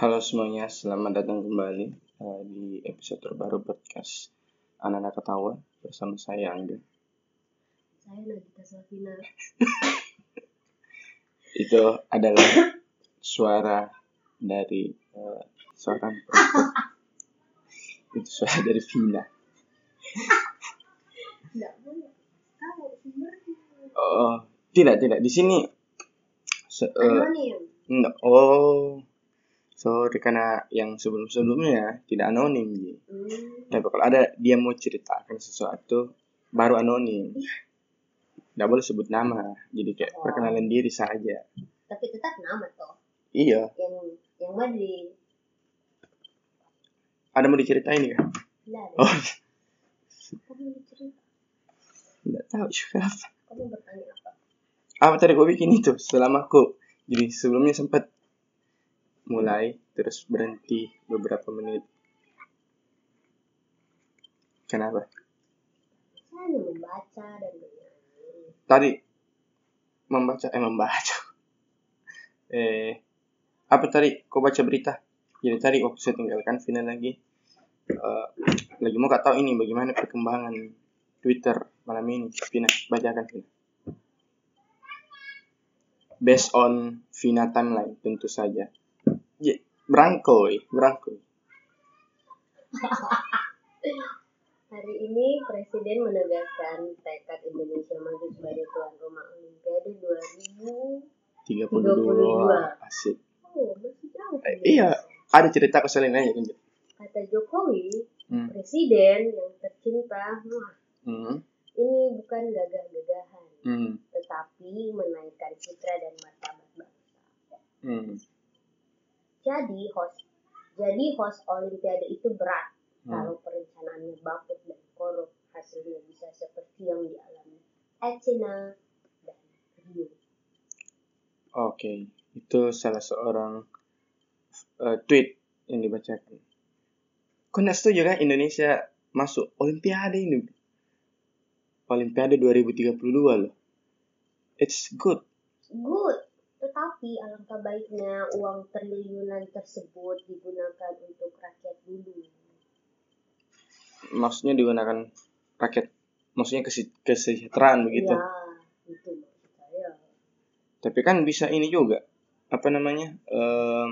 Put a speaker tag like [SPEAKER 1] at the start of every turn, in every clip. [SPEAKER 1] Halo semuanya, selamat datang kembali eh, di episode terbaru podcast Anak-anak Ketawa bersama saya Angga.
[SPEAKER 2] saya Nagita Slavina
[SPEAKER 1] Itu adalah suara dari eh, seorang perempuan. Itu suara dari Vina.
[SPEAKER 2] tidak boleh tahu sumbernya
[SPEAKER 1] Oh, tidak tidak di sini. se- eh,
[SPEAKER 2] anonim
[SPEAKER 1] no- oh, sorry karena yang sebelum-sebelumnya tidak anonim Ji.
[SPEAKER 2] hmm.
[SPEAKER 1] Tapi kalau Nah, ada dia mau ceritakan sesuatu baru anonim. Nggak boleh sebut nama. Jadi kayak
[SPEAKER 2] Oh.
[SPEAKER 1] perkenalan diri saja.
[SPEAKER 2] tapi tetap nama toh
[SPEAKER 1] Iya,
[SPEAKER 2] yang yang mana di
[SPEAKER 1] ada mau diceritain ya?
[SPEAKER 2] lah
[SPEAKER 1] Oh,
[SPEAKER 2] kamu cerita
[SPEAKER 1] nggak tahu juga apa.
[SPEAKER 2] kamu bertanya apa
[SPEAKER 1] Apa tadi gue bikin itu selama aku. Jadi sebelumnya sempat mulai terus berhenti beberapa menit. Kenapa?
[SPEAKER 2] saya hanya membaca dan menyanyi
[SPEAKER 1] Tadi membaca eh membaca. Eh apa tadi kau baca berita? Jadi tadi waktu saya tinggalkan final lagi eh, lagi mau kak tahu ini bagaimana perkembangan Twitter malam ini. Vina, bacakan Vina. Based on Vina timeline tentu saja. Ya, berangkoi, berangkoi.
[SPEAKER 2] hari ini presiden menegaskan tekad Indonesia maju sebagai tuan rumah Olimpiade 2000
[SPEAKER 1] 32 asik.
[SPEAKER 2] oh masih jauh
[SPEAKER 1] Eh, iya. Ada cerita keselin aja kan, lanjut.
[SPEAKER 2] kata Jokowi
[SPEAKER 1] Hmm.
[SPEAKER 2] presiden yang tercinta wah,
[SPEAKER 1] Hmm.
[SPEAKER 2] ini bukan gagah-gagahan
[SPEAKER 1] Hmm.
[SPEAKER 2] tetapi menaikkan citra dan martabat bangsa.
[SPEAKER 1] Hmm.
[SPEAKER 2] Jadi host jadi host olimpiade itu berat
[SPEAKER 1] Hmm.
[SPEAKER 2] kalau perencanaannya bapuk dan korup hasilnya bisa seperti yang dialami Athena dan Rio.
[SPEAKER 1] Oke, itu salah seorang eh, tweet yang dibacakan. Kau nggak setuju kan Indonesia masuk Olimpiade ini? Olimpiade 2032 loh. It's good.
[SPEAKER 2] Good, tetapi alangkah baiknya uang triliunan tersebut digunakan untuk rakyat dulu.
[SPEAKER 1] Maksudnya digunakan rakyat, maksudnya kese- kesejahteraan begitu.
[SPEAKER 2] Ya, itu maksud saya.
[SPEAKER 1] Tapi kan bisa ini juga, apa namanya? Eh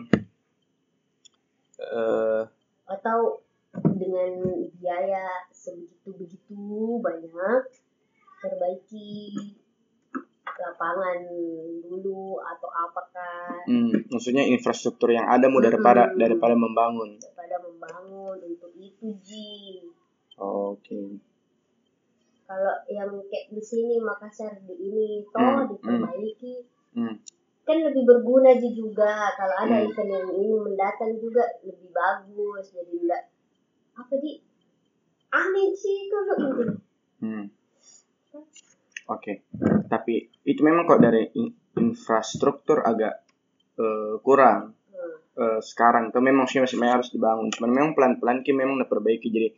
[SPEAKER 1] eh,
[SPEAKER 2] Atau dengan biaya sebegitu-begitu banyak perbaiki lapangan dulu atau apakah
[SPEAKER 1] hmm, maksudnya infrastruktur yang ada mau daripada
[SPEAKER 2] Mm-mm.
[SPEAKER 1] daripada membangun.
[SPEAKER 2] daripada membangun untuk itu ji
[SPEAKER 1] Oke.
[SPEAKER 2] kalau yang kayak di sini Makassar di ini toh
[SPEAKER 1] Hmm,
[SPEAKER 2] diperbaiki
[SPEAKER 1] Hmm.
[SPEAKER 2] kan lebih berguna ji juga kalau ada
[SPEAKER 1] Hmm.
[SPEAKER 2] event yang ini mendatang juga lebih bagus jadi enggak apa di aneh sih kalau ini
[SPEAKER 1] Hmm. Oke, tapi itu memang kok dari in- infrastruktur agak eh, kurang
[SPEAKER 2] Hmm.
[SPEAKER 1] eh, sekarang. Itu memang sih masih masih harus dibangun. Cuman memang pelan-pelan ki memang diperbaiki jadi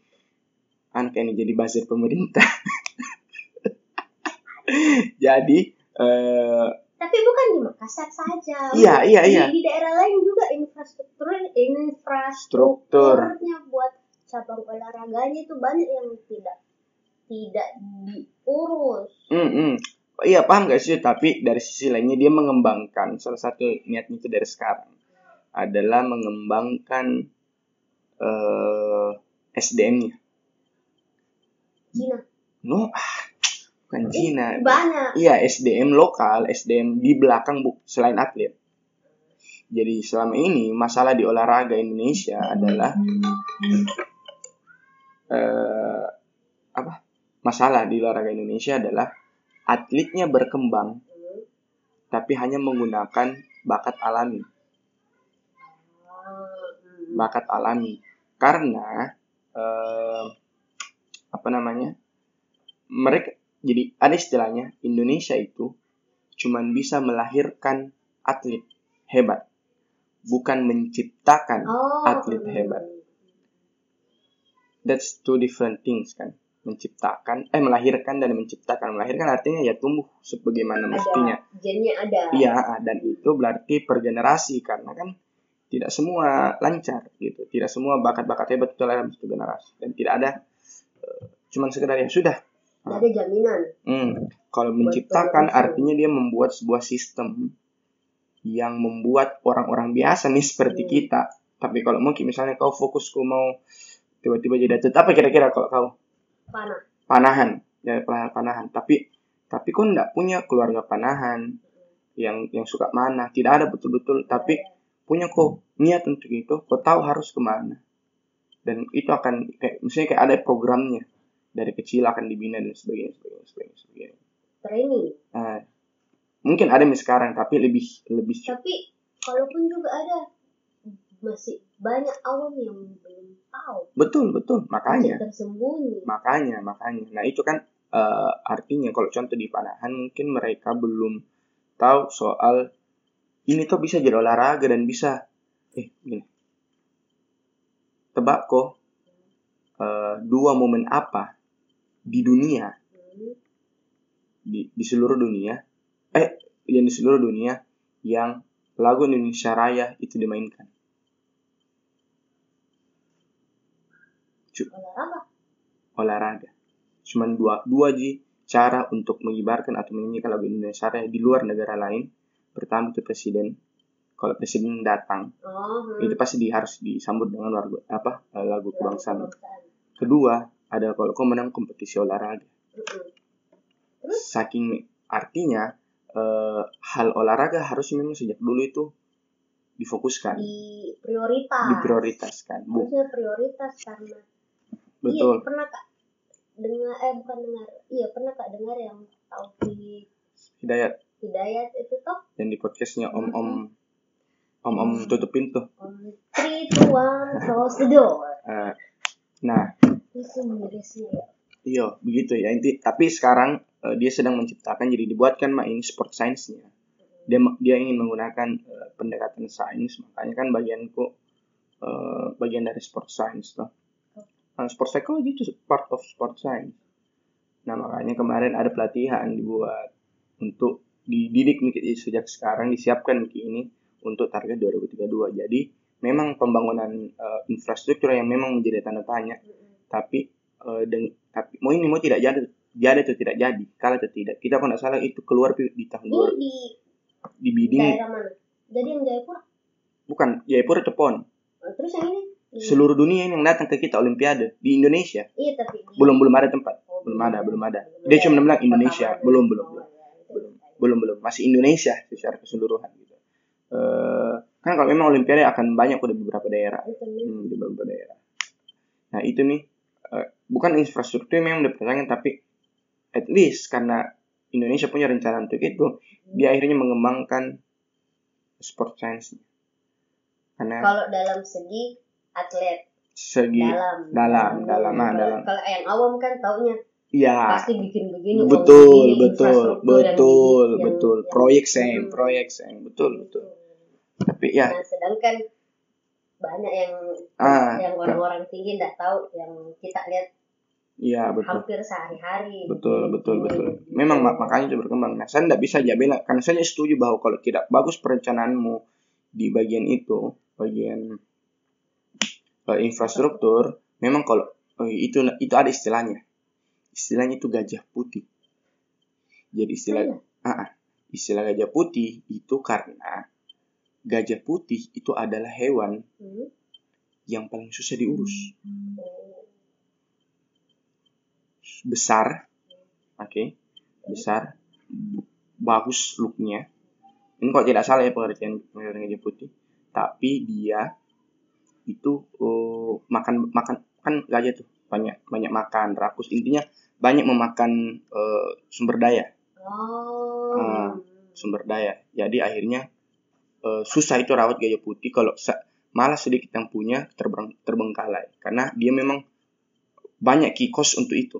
[SPEAKER 1] anak ini jadi buzzer pemerintah. jadi eh
[SPEAKER 2] Tapi bukan di Makassar saja.
[SPEAKER 1] Iya, iya,
[SPEAKER 2] Di-
[SPEAKER 1] iya.
[SPEAKER 2] Di daerah lain juga infrastruktur
[SPEAKER 1] Struktur.
[SPEAKER 2] infrastrukturnya buat cabang olahraganya itu banyak yang tidak tidak diurus.
[SPEAKER 1] mm, mm. iya paham gak sih? Tapi dari sisi lainnya dia mengembangkan salah satu niatnya itu dari sekarang adalah mengembangkan eh SDM-nya.
[SPEAKER 2] Cina
[SPEAKER 1] No, ah, bukan Cina.
[SPEAKER 2] banyak.
[SPEAKER 1] Iya, SDM lokal, SDM di belakang bu, selain atlet. Jadi selama ini masalah di olahraga Indonesia adalah eh, apa? Masalah di olahraga Indonesia adalah atletnya berkembang
[SPEAKER 2] Hmm.
[SPEAKER 1] tapi hanya menggunakan bakat alami,
[SPEAKER 2] Ah, hmm.
[SPEAKER 1] bakat alami. Karena eh, apa namanya? Mereka jadi ada istilahnya Indonesia itu cuman bisa melahirkan atlet hebat, bukan menciptakan
[SPEAKER 2] Oh,
[SPEAKER 1] atlet
[SPEAKER 2] hmm.
[SPEAKER 1] hebat. that's two different things kan menciptakan eh melahirkan dan menciptakan melahirkan artinya ya tumbuh sebagaimana
[SPEAKER 2] Ada
[SPEAKER 1] mestinya
[SPEAKER 2] gennya ada.
[SPEAKER 1] iya dan itu berarti per generasi karena kan tidak semua lancar gitu tidak semua bakat-bakat hebat itu dalam satu generasi dan tidak ada eh, cuman sekedar ya sudah
[SPEAKER 2] Gak ada jaminan.
[SPEAKER 1] Hmm, kalau menciptakan artinya dia membuat sebuah sistem yang membuat orang-orang biasa nih seperti
[SPEAKER 2] Hmm.
[SPEAKER 1] kita. Tapi kalau mungkin misalnya kau fokusku mau tiba-tiba jadi atlet apa kira-kira kalau kau
[SPEAKER 2] Panah.
[SPEAKER 1] panahan ya panahan panahan tapi tapi kau nggak punya keluarga panahan yang yang suka mana tidak ada betul-betul tapi punya kok niat untuk itu kau tahu harus kemana dan itu akan kayak misalnya kayak ada programnya dari kecil akan dibina dan sebagainya sebagainya sebagainya, sebagainya.
[SPEAKER 2] Training.
[SPEAKER 1] Nah, mungkin ada nih sekarang tapi lebih lebih
[SPEAKER 2] Tapi kalaupun juga ada masih banyak awam yang belum tahu.
[SPEAKER 1] betul betul makanya
[SPEAKER 2] Tersembunyi.
[SPEAKER 1] makanya makanya nah itu kan eh, artinya kalau contoh di panahan mungkin mereka belum tahu soal ini tuh bisa jadi olahraga dan bisa eh gini tebak kok eh, dua momen apa di dunia
[SPEAKER 2] Hmm.
[SPEAKER 1] di, di seluruh dunia eh yang di seluruh dunia yang lagu Indonesia Raya itu dimainkan
[SPEAKER 2] Olahraga.
[SPEAKER 1] olahraga cuman dua dua ji cara untuk mengibarkan atau menyanyikan lagu Indonesia Raya di luar negara lain pertama itu presiden kalau presiden datang
[SPEAKER 2] Oh, hmm.
[SPEAKER 1] itu pasti di, harus disambut dengan lagu apa eh, lagu
[SPEAKER 2] Lagu
[SPEAKER 1] kebangsaan
[SPEAKER 2] kebangsaan.
[SPEAKER 1] kedua ada kalau kau menang kompetisi olahraga
[SPEAKER 2] Mm-mm.
[SPEAKER 1] saking artinya eh, hal olahraga harus memang sejak dulu itu difokuskan
[SPEAKER 2] Di prioritas.
[SPEAKER 1] diprioritaskan Bu,
[SPEAKER 2] Harusnya prioritas karena
[SPEAKER 1] betul
[SPEAKER 2] Iya, pernah kak dengar eh bukan dengar iya pernah kak dengar yang Taufik
[SPEAKER 1] hidayat
[SPEAKER 2] Hidayat itu toh
[SPEAKER 1] dan di podcastnya om om om om
[SPEAKER 2] Mhm.
[SPEAKER 1] tutup pintu
[SPEAKER 2] on three two one close the door
[SPEAKER 1] Eh, nah
[SPEAKER 2] itu mirisnya ya
[SPEAKER 1] Iya, begitu ya inti. Tapi sekarang eh, dia sedang menciptakan jadi dibuatkan mak ini sport science-nya. Dia ma- dia ingin menggunakan eh, pendekatan sains, makanya kan bagianku eh, bagian dari sport science loh. Nah, sport psychology itu part of sport science. Nah, makanya kemarin ada pelatihan dibuat untuk dididik nih ke- sejak sekarang disiapkan ke ini untuk target 2032. Jadi memang pembangunan eh, infrastruktur yang memang menjadi tanda tanya
[SPEAKER 2] Mm-mm.
[SPEAKER 1] tapi eh, deng- tapi mau ini mau tidak jadi jadi atau tidak jadi kalah atau tidak kita kalau nggak salah itu keluar di di tahun
[SPEAKER 2] ini
[SPEAKER 1] dua
[SPEAKER 2] di
[SPEAKER 1] di bidding
[SPEAKER 2] daerah mana jadi yang Jayapura
[SPEAKER 1] bukan ya, Jayapura Tepon
[SPEAKER 2] Oh, terus yang ini Di-
[SPEAKER 1] seluruh dunia ini yang datang ke kita Olimpiade di Indonesia
[SPEAKER 2] iya tapi di-
[SPEAKER 1] belum belum ada tempat
[SPEAKER 2] Oh,
[SPEAKER 1] belum ada belum ada
[SPEAKER 2] Belum
[SPEAKER 1] dia
[SPEAKER 2] ada.
[SPEAKER 1] cuma bilang
[SPEAKER 2] Kota
[SPEAKER 1] Indonesia
[SPEAKER 2] mana?
[SPEAKER 1] belum belum belum
[SPEAKER 2] Oh, ya, itu
[SPEAKER 1] belum
[SPEAKER 2] makanya.
[SPEAKER 1] belum belum masih Indonesia secara keseluruhan gitu Eh, kan kalau memang Olimpiade akan banyak udah beberapa daerah
[SPEAKER 2] Itu nih.
[SPEAKER 1] Hmm, di beberapa daerah. Nah itu nih eh, bukan infrastruktur yang dipertanyakan tapi at least karena Indonesia punya rencana untuk itu,
[SPEAKER 2] Hmm.
[SPEAKER 1] dia akhirnya mengembangkan sport science karena
[SPEAKER 2] kalau dalam segi atlet
[SPEAKER 1] segi Iya,
[SPEAKER 2] dalam
[SPEAKER 1] dalam, dalam, ah,
[SPEAKER 2] Kalau-
[SPEAKER 1] dalam.
[SPEAKER 2] kalau yang awam kan taunya
[SPEAKER 1] ya
[SPEAKER 2] pasti bikin begini om,
[SPEAKER 1] betul
[SPEAKER 2] begini,
[SPEAKER 1] betul
[SPEAKER 2] infrastruktur yang
[SPEAKER 1] betul
[SPEAKER 2] begini, yang-
[SPEAKER 1] betul
[SPEAKER 2] yang-
[SPEAKER 1] proyek sem
[SPEAKER 2] Hmm.
[SPEAKER 1] proyek sem betul betul tapi ya
[SPEAKER 2] nah sedangkan banyak yang
[SPEAKER 1] ah
[SPEAKER 2] yang orang-orang tinggi tidak tahu yang kita lihat
[SPEAKER 1] ya betul
[SPEAKER 2] hampir sehari-hari Gitu.
[SPEAKER 1] Betul,
[SPEAKER 2] Begini,
[SPEAKER 1] betul,
[SPEAKER 2] begini,
[SPEAKER 1] betul.
[SPEAKER 2] begini.
[SPEAKER 1] Memang mak- makanya itu berkembang. Nah, saya tidak bisa jaminan karena saya setuju bahwa kalau tidak bagus perencanaanmu di bagian itu, bagian eh, infrastruktur, memang kalau eh, itu itu ada istilahnya. Istilahnya itu gajah putih. Jadi istilah
[SPEAKER 2] Mana?
[SPEAKER 1] istilah gajah putih itu karena gajah putih itu adalah hewan
[SPEAKER 2] Hmm?
[SPEAKER 1] yang paling susah diurus.
[SPEAKER 2] Oh,
[SPEAKER 1] besar, oke, besar, b- bagus looknya. Ini kalau tidak salah ya pengertian pengertian gajah putih. Tapi dia itu eh, makan makan kan gajah tuh banyak banyak makan rakus intinya banyak memakan eh, sumber daya
[SPEAKER 2] oh.
[SPEAKER 1] Ah, sumber daya. Jadi akhirnya eh, susah itu rawat gajah putih kalau sa- malah sedikit yang punya terbang terbengkalai karena dia memang banyak kikos untuk itu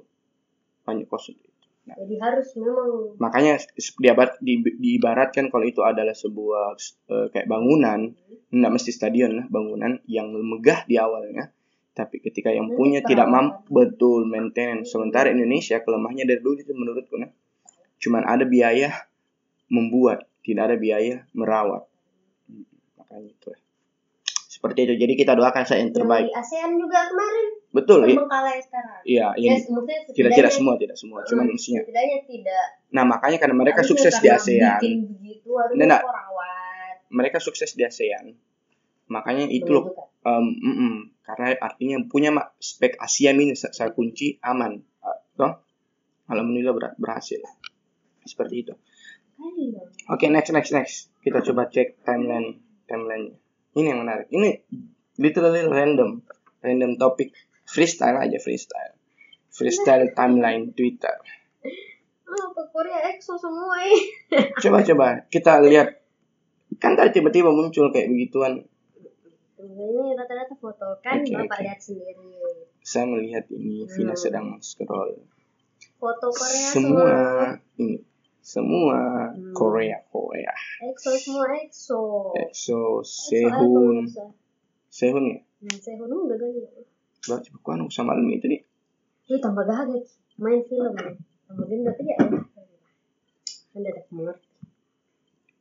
[SPEAKER 1] banyak kos untuk itu. Nah,
[SPEAKER 2] jadi harus memang
[SPEAKER 1] makanya se- diabar- di- diibaratkan kalau itu adalah sebuah eh, kayak bangunan nggak mesti stadion lah bangunan yang megah di awalnya tapi ketika yang
[SPEAKER 2] Nanti
[SPEAKER 1] punya tidak
[SPEAKER 2] perawatan.
[SPEAKER 1] mampu betul maintenance sementara Indonesia kelemahnya dari dulu itu menurutku nah cuman ada biaya membuat tidak ada biaya merawat Hmm, makanya itu ya. Seperti itu. Jadi kita doakan saya yang terbaik.
[SPEAKER 2] Yang di ASEAN juga kemarin
[SPEAKER 1] Betul. i-
[SPEAKER 2] terbengkalai sekarang.
[SPEAKER 1] Iya, iya.
[SPEAKER 2] Ya, maksudnya
[SPEAKER 1] Tidak-tidak
[SPEAKER 2] setidaknya-
[SPEAKER 1] semua, tidak semua. Cuman mestinya.
[SPEAKER 2] Hmm, setidaknya tidak.
[SPEAKER 1] Nah, makanya karena mereka
[SPEAKER 2] harusnya
[SPEAKER 1] sukses di
[SPEAKER 2] karena
[SPEAKER 1] ASEAN.
[SPEAKER 2] Bikin begitu harusnya
[SPEAKER 1] Nggak, nggak.
[SPEAKER 2] kok rawat.
[SPEAKER 1] Mereka sukses di ASEAN. Makanya itu loh
[SPEAKER 2] menunjukkan.
[SPEAKER 1] Um, mm-mm. karena artinya punya ma- spek ASEAN ini sa- saya kunci aman. Uh, Dong? Alhamdulillah ber- berhasil. Seperti itu.
[SPEAKER 2] Kali ya.
[SPEAKER 1] Oke, next next next. Kita coba cek timeline timeline. Ini yang menarik. Ini literally random. Random topik freestyle aja freestyle. Freestyle timeline Twitter.
[SPEAKER 2] Oh, ke Korea EXO semua eh.
[SPEAKER 1] Coba coba kita lihat kan tadi tiba-tiba muncul kayak begituan.
[SPEAKER 2] Ini rata-rata foto kan
[SPEAKER 1] Oke,
[SPEAKER 2] Bapak
[SPEAKER 1] oke.
[SPEAKER 2] lihat sendiri.
[SPEAKER 1] Saya melihat ini Vina
[SPEAKER 2] Hmm.
[SPEAKER 1] sedang scroll.
[SPEAKER 2] Foto Korea
[SPEAKER 1] semua
[SPEAKER 2] semua.
[SPEAKER 1] ini semua
[SPEAKER 2] Hmm.
[SPEAKER 1] Korea Korea.
[SPEAKER 2] EXO semua EXO.
[SPEAKER 1] EXO,
[SPEAKER 2] Sehun.
[SPEAKER 1] Sehun, Sehun ya.
[SPEAKER 2] Hmm, Sehun enggak gak
[SPEAKER 1] Baca bukuan sama Almi tadi.
[SPEAKER 2] Ini tambah gagak. Main film. nih. Tambah gendut ya. Anda tak mengerti.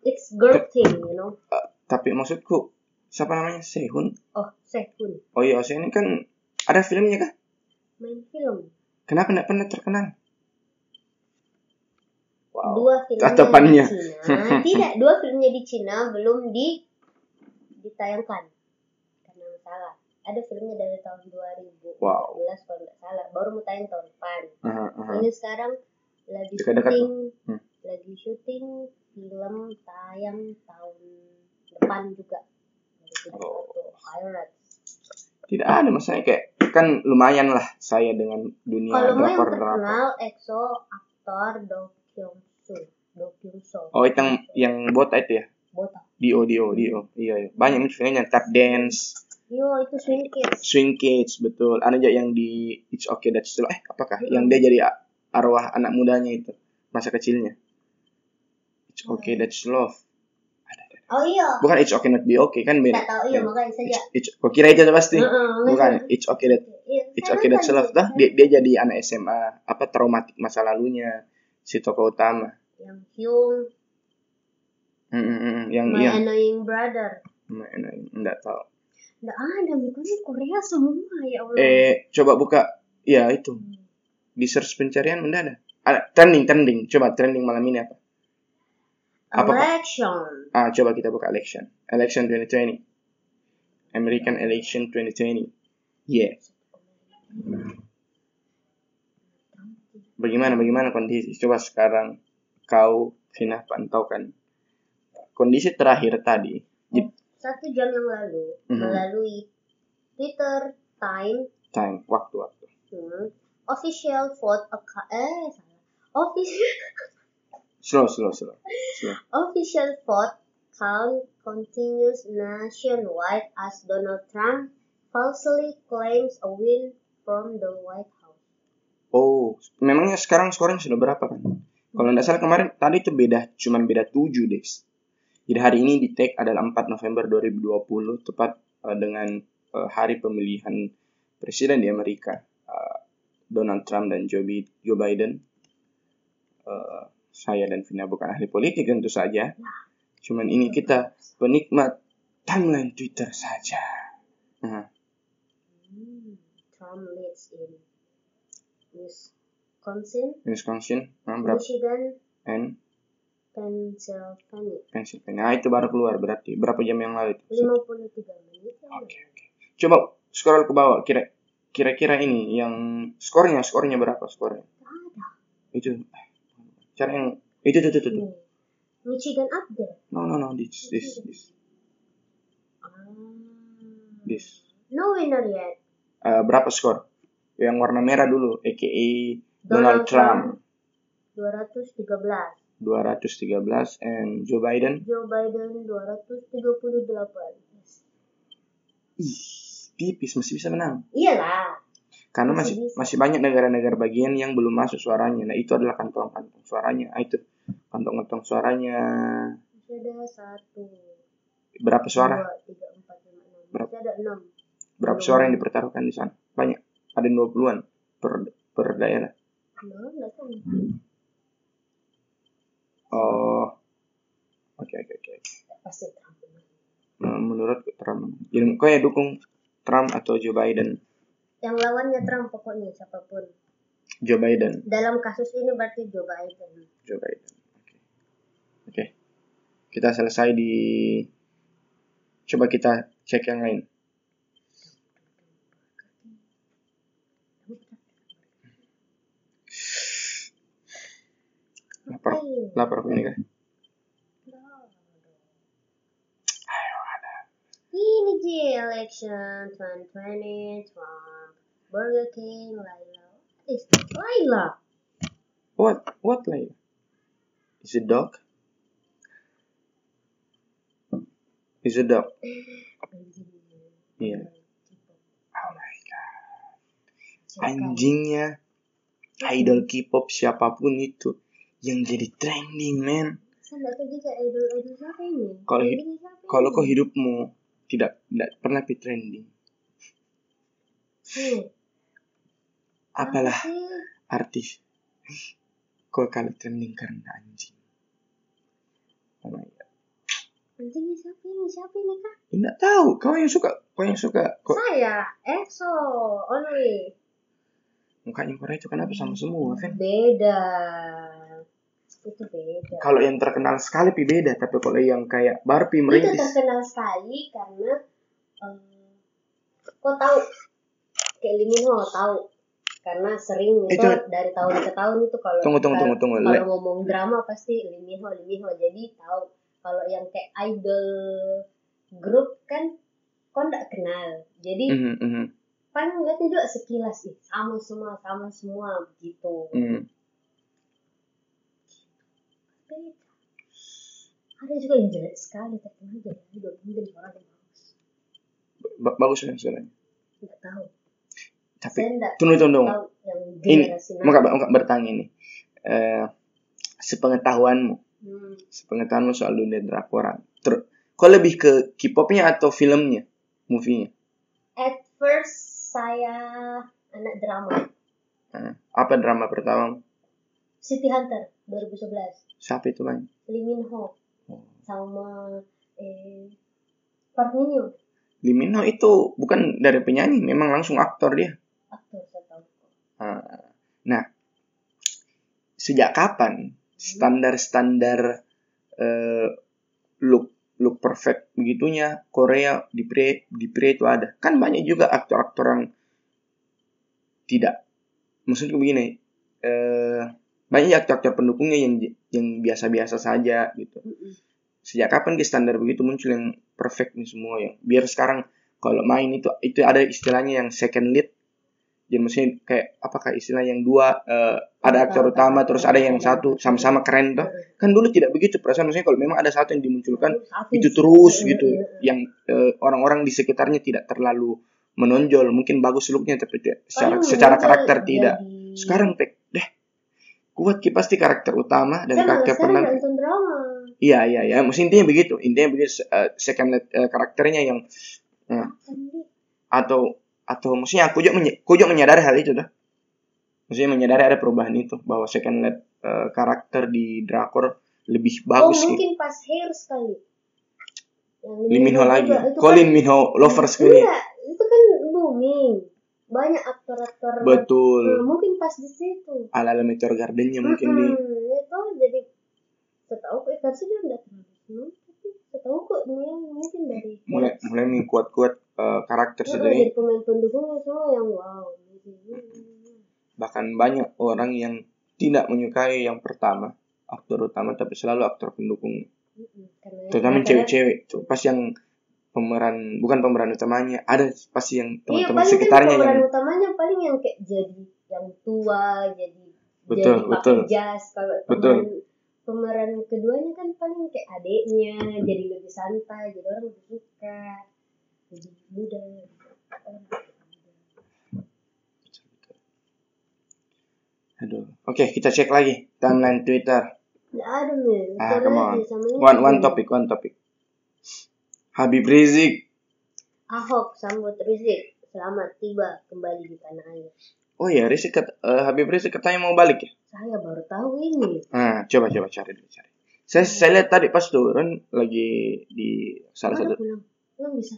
[SPEAKER 2] It's girl thing, you know.
[SPEAKER 1] Tapi maksudku siapa namanya Sehun?
[SPEAKER 2] Oh, Sehun.
[SPEAKER 1] Oh iya, Ose ini kan ada filmnya kah?
[SPEAKER 2] Main film.
[SPEAKER 1] Kenapa tidak pernah terkenal? Wow.
[SPEAKER 2] Dua filmnya
[SPEAKER 1] Tatapannya.
[SPEAKER 2] di Cina. Tidak, dua filmnya di Cina belum di ditayangkan. Karena masalah. Ada filmnya dari tahun 2014
[SPEAKER 1] Wow.
[SPEAKER 2] kalau nggak salah. Baru mau tayang tahun depan.
[SPEAKER 1] Aha, aha.
[SPEAKER 2] Ini sekarang lagi
[SPEAKER 1] Dekat-dekat
[SPEAKER 2] syuting,
[SPEAKER 1] Hmm.
[SPEAKER 2] lagi syuting film tayang tahun depan juga.
[SPEAKER 1] Oh.
[SPEAKER 2] 2021, Pirates.
[SPEAKER 1] Tidak ada maksudnya kayak kan lumayan lah saya dengan dunia
[SPEAKER 2] Kalau mau yang
[SPEAKER 1] drakor drakor.
[SPEAKER 2] terkenal, EXO aktor Do Kyung Soo, Do Kyung Soo.
[SPEAKER 1] Oh itu yang yang botak itu ya?
[SPEAKER 2] botak.
[SPEAKER 1] Dio Dio Dio. Iya, iya. banyak nih filmnya yang tap dance,
[SPEAKER 2] Yo itu Swing Kids.
[SPEAKER 1] swing kids betul. Ada juga yang di It's Okay That's Still eh apakah yang dia jadi a- arwah anak mudanya itu masa kecilnya. It's Okay That's Love.
[SPEAKER 2] Oh iya.
[SPEAKER 1] Bukan It's Okay Not Be Okay kan beda.
[SPEAKER 2] Tidak tahu iya
[SPEAKER 1] Yang
[SPEAKER 2] makanya saja.
[SPEAKER 1] It's- It's, kok kira itu pasti.
[SPEAKER 2] Heeh,
[SPEAKER 1] Bukan It's Okay That
[SPEAKER 2] Iya,
[SPEAKER 1] It's okay that's
[SPEAKER 2] kan
[SPEAKER 1] love dah. Dia, dia jadi anak SMA apa traumatik masa lalunya si tokoh utama.
[SPEAKER 2] Yang Hyung,
[SPEAKER 1] Mm, mm, mm, yang
[SPEAKER 2] My
[SPEAKER 1] iya.
[SPEAKER 2] Annoying Brother.
[SPEAKER 1] Enggak tahu.
[SPEAKER 2] Nggak ada, mukanya Korea semua ya Allah.
[SPEAKER 1] Eh coba buka ya itu
[SPEAKER 2] Hmm.
[SPEAKER 1] di search pencarian benda ada. Ada trending trending. Coba trending malam ini apa? Apa, Pak?
[SPEAKER 2] Election.
[SPEAKER 1] Ah coba kita buka election. Election 2020. American election 2020. Yeah. Bagaimana bagaimana kondisi? Coba sekarang kau Vina pantaukan kondisi terakhir tadi. Di
[SPEAKER 2] Satu jam yang lalu
[SPEAKER 1] Mhm.
[SPEAKER 2] melalui Twitter Time
[SPEAKER 1] time waktu waktu.
[SPEAKER 2] hmm, official vote account eh salah. Official
[SPEAKER 1] Slow slow slow.
[SPEAKER 2] official vote count continues nationwide as Donald Trump falsely claims a win from the White House.
[SPEAKER 1] Oh, memangnya sekarang skornya sudah berapa kan? Kalau nggak salah kemarin tadi itu beda, cuman beda 7 deh. Jadi hari ini di take adalah 4 November 2020 tepat eh, dengan eh, hari pemilihan presiden di Amerika. Eh, Donald Trump dan Joe, Bi- Joe Biden. Eh, saya dan Vina bukan ahli politik tentu saja. Cuman ini kita penikmat timeline Twitter saja. Nah,
[SPEAKER 2] Hmm, Trump leads in Wisconsin,
[SPEAKER 1] Wisconsin, nah, berapa?
[SPEAKER 2] Michigan,
[SPEAKER 1] And
[SPEAKER 2] Pennsylvania.
[SPEAKER 1] Pennsylvania. Nah, itu baru keluar berarti. Berapa jam yang lalu itu?
[SPEAKER 2] 53 menit yang lalu.
[SPEAKER 1] Oke, oke. Coba scroll ke bawah. Kira kira-kira ini yang skornya, skornya berapa skornya? Itu cara yang itu tuh tuh tuh. tuh.
[SPEAKER 2] Nih, Michigan update.
[SPEAKER 1] No no no this this this
[SPEAKER 2] Ah.
[SPEAKER 1] this.
[SPEAKER 2] No winner yet.
[SPEAKER 1] Eh, berapa skor? Yang warna merah dulu, aka Donald,
[SPEAKER 2] Donald
[SPEAKER 1] Trump.
[SPEAKER 2] 213.
[SPEAKER 1] 213 and Joe Biden.
[SPEAKER 2] Joe Biden 238.
[SPEAKER 1] Ih, tipis masih bisa menang.
[SPEAKER 2] Iyalah.
[SPEAKER 1] karena masih
[SPEAKER 2] Masih bisa.
[SPEAKER 1] masih banyak negara-negara bagian yang belum masuk suaranya nah itu adalah kantong-kantong suaranya nah, itu kantong-kantong suaranya
[SPEAKER 2] Masih ada satu.
[SPEAKER 1] berapa suara
[SPEAKER 2] Dua, tiga, empat, lima, enam.
[SPEAKER 1] Berapa?
[SPEAKER 2] Masih ada enam.
[SPEAKER 1] berapa
[SPEAKER 2] Belum.
[SPEAKER 1] suara yang dipertaruhkan di sana banyak ada 20-an per per daerah
[SPEAKER 2] Enam, enggak tahu.
[SPEAKER 1] oh oke oke oke
[SPEAKER 2] Pasti Trump.
[SPEAKER 1] eh, menurut Trump. Jadi kau ya dukung Trump atau Joe Biden?
[SPEAKER 2] Yang lawannya Trump pokoknya siapapun.
[SPEAKER 1] Joe Biden.
[SPEAKER 2] Dalam kasus ini berarti Joe Biden.
[SPEAKER 1] Joe Biden. Oke. Oke. Kita selesai di coba kita cek yang lain. Lapar.
[SPEAKER 2] Ayo.
[SPEAKER 1] Lapar aku ini kan.
[SPEAKER 2] Ini dia election 2020 Trump, Burger King, Laila. What is that? Laila?
[SPEAKER 1] What what like? Is it dog? Is it dog? Iya. Oh my god. Anjingnya idol K-pop siapapun itu yang jadi trending man.
[SPEAKER 2] Saya nggak tahu juga idol-idol siapa ini.
[SPEAKER 1] Kalau hi-
[SPEAKER 2] Idolnya siapa
[SPEAKER 1] Kalau
[SPEAKER 2] ini?
[SPEAKER 1] kau hidupmu tidak tidak pernah pi trending,
[SPEAKER 2] Hmm,
[SPEAKER 1] apalah
[SPEAKER 2] apa sih?
[SPEAKER 1] artis kau kalau trending karena anjing. Oh my god.
[SPEAKER 2] Anjingnya siapa ini? Siapa ini kak?
[SPEAKER 1] Tidak tahu. Kau yang suka, kau yang suka. Kau
[SPEAKER 2] Saya, EXO, Only.
[SPEAKER 1] mukanya Korea itu kenapa sama semua kan?
[SPEAKER 2] Beda. Itu beda.
[SPEAKER 1] kalau yang terkenal sekali pi beda tapi kalau yang kayak baru pi
[SPEAKER 2] itu
[SPEAKER 1] merintis
[SPEAKER 2] terkenal sekali karena em, kok tahu kayak Liminho tahu karena sering itu,
[SPEAKER 1] Itu-
[SPEAKER 2] dari tahun ke tahun itu kalau
[SPEAKER 1] tunggu tunggu tunggu tunggu
[SPEAKER 2] kalau
[SPEAKER 1] Le-
[SPEAKER 2] ngomong drama pasti Liminho Liminho jadi tahu kalau yang kayak idol grup kan kok nggak kenal jadi
[SPEAKER 1] Mhm, mhm,
[SPEAKER 2] paling ngeliatnya juga sekilas sih sama semua sama semua gitu. begitu
[SPEAKER 1] mhm.
[SPEAKER 2] beda ada juga yang jelek sekali terkenal jadi idol mungkin orang yang bagus
[SPEAKER 1] Ba- bagus kan sebenarnya
[SPEAKER 2] nggak tahu
[SPEAKER 1] tapi
[SPEAKER 2] saya nggak
[SPEAKER 1] tunggu tunggu tunggu.
[SPEAKER 2] tahu yang
[SPEAKER 1] Ini,
[SPEAKER 2] generasi
[SPEAKER 1] mau nggak mau nggak bertanya nih Eh, sepengetahuanmu
[SPEAKER 2] Hmm,
[SPEAKER 1] sepengetahuanmu soal dunia drakoran terus kau lebih ke K-popnya atau filmnya movie-nya
[SPEAKER 2] At first saya anak drama
[SPEAKER 1] Eh, apa drama pertama
[SPEAKER 2] City Hunter 2011
[SPEAKER 1] siapa itu bang
[SPEAKER 2] Lee Min Ho
[SPEAKER 1] Oh.
[SPEAKER 2] sama eh Park Min Young
[SPEAKER 1] Lee Min Ho itu bukan dari penyanyi memang langsung aktor dia
[SPEAKER 2] aktor saya tahu
[SPEAKER 1] Ah, Nah, sejak kapan standar-standar eh, look look perfect begitunya Korea di pre di pre itu ada? Kan banyak juga aktor-aktor yang tidak. Maksudku begini, eh, banyak aktor-aktor pendukungnya yang yang biasa-biasa saja gitu.
[SPEAKER 2] Mm-mm.
[SPEAKER 1] Sejak kapan ke standar begitu muncul yang perfect nih semua yang biar sekarang kalau main itu itu ada istilahnya yang second lead jadi maksudnya kayak apakah istilah yang dua eh, ada aktor utama terus ada yang satu sama-sama keren tuh kan dulu tidak begitu perasaan maksudnya kalau memang ada satu yang dimunculkan
[SPEAKER 2] Satu
[SPEAKER 1] kan itu
[SPEAKER 2] sih.
[SPEAKER 1] terus
[SPEAKER 2] Mm-mm.
[SPEAKER 1] gitu yang eh, orang-orang di sekitarnya tidak terlalu menonjol mungkin bagus looknya tapi tidak- secara
[SPEAKER 2] Paling
[SPEAKER 1] secara
[SPEAKER 2] muncul
[SPEAKER 1] karakter
[SPEAKER 2] jadi-
[SPEAKER 1] tidak sekarang pek deh kuat ki pasti karakter utama dan
[SPEAKER 2] Saya malah
[SPEAKER 1] karakter
[SPEAKER 2] sekarang
[SPEAKER 1] pendamping
[SPEAKER 2] nggak nonton drama
[SPEAKER 1] iya iya iya maksudnya intinya begitu intinya begitu eh, second lead, eh, karakternya yang
[SPEAKER 2] Kan di-
[SPEAKER 1] atau atau maksudnya aku juga menye- aku juga menyadari hal itu dah maksudnya menyadari ada perubahan itu bahwa second lead eh, karakter di drakor lebih
[SPEAKER 2] Oh
[SPEAKER 1] bagus gitu.
[SPEAKER 2] mungkin pas hair sekali Yang
[SPEAKER 1] Lee Min Ho
[SPEAKER 2] juga,
[SPEAKER 1] lagi
[SPEAKER 2] itu kan-
[SPEAKER 1] Colin Minho lovers ini
[SPEAKER 2] Enggak, itu kan booming banyak aktor-aktor Nah,
[SPEAKER 1] betul
[SPEAKER 2] mungkin pas di situ
[SPEAKER 1] ala ala Meteor Gardennya mungkin di
[SPEAKER 2] Mm-mm, itu jadi setahu aku ikan sih dia nggak terlalu senang, tapi setahu aku dia mungkin dari
[SPEAKER 1] mulai mulai mengkuat kuat karakter
[SPEAKER 2] Nah,
[SPEAKER 1] satu ini
[SPEAKER 2] dari pemain pendukungnya semua yang wow gitu. Mm-mm.
[SPEAKER 1] bahkan banyak orang yang tidak menyukai yang pertama aktor utama tapi selalu aktor pendukung
[SPEAKER 2] Iya, Mm-mm, karena
[SPEAKER 1] terutama
[SPEAKER 2] karena-
[SPEAKER 1] cewek-cewek tuh pas yang pemeran bukan pemeran utamanya ada pasti yang
[SPEAKER 2] iya
[SPEAKER 1] teman-teman
[SPEAKER 2] paling
[SPEAKER 1] sekitarnya
[SPEAKER 2] kan pemeran
[SPEAKER 1] yang
[SPEAKER 2] utamanya paling yang kayak jadi yang tua jadi
[SPEAKER 1] Betul,
[SPEAKER 2] jadi
[SPEAKER 1] betul.
[SPEAKER 2] pakai jas kalau
[SPEAKER 1] Betul.
[SPEAKER 2] pemeran pemeran keduanya kan paling kayak adiknya jadi lebih santai jadi orang lebih suka jadi muda Orang muda.
[SPEAKER 1] aduh oke kita cek lagi timeline Twitter
[SPEAKER 2] nggak ada men
[SPEAKER 1] Ah,
[SPEAKER 2] Ntar
[SPEAKER 1] come
[SPEAKER 2] lagi sama ini
[SPEAKER 1] one one
[SPEAKER 2] lagi.
[SPEAKER 1] topic one topic Habib Rizik
[SPEAKER 2] Ahok sambut Rizik selamat tiba kembali di tanah air
[SPEAKER 1] oh ya Rizik kat- eh, Habib Rizik katanya mau balik ya
[SPEAKER 2] saya baru tahu ini
[SPEAKER 1] nah coba coba cari dulu cari saya saya lihat tadi pas turun lagi di salah
[SPEAKER 2] Mana
[SPEAKER 1] satu
[SPEAKER 2] pulang Emang bisa?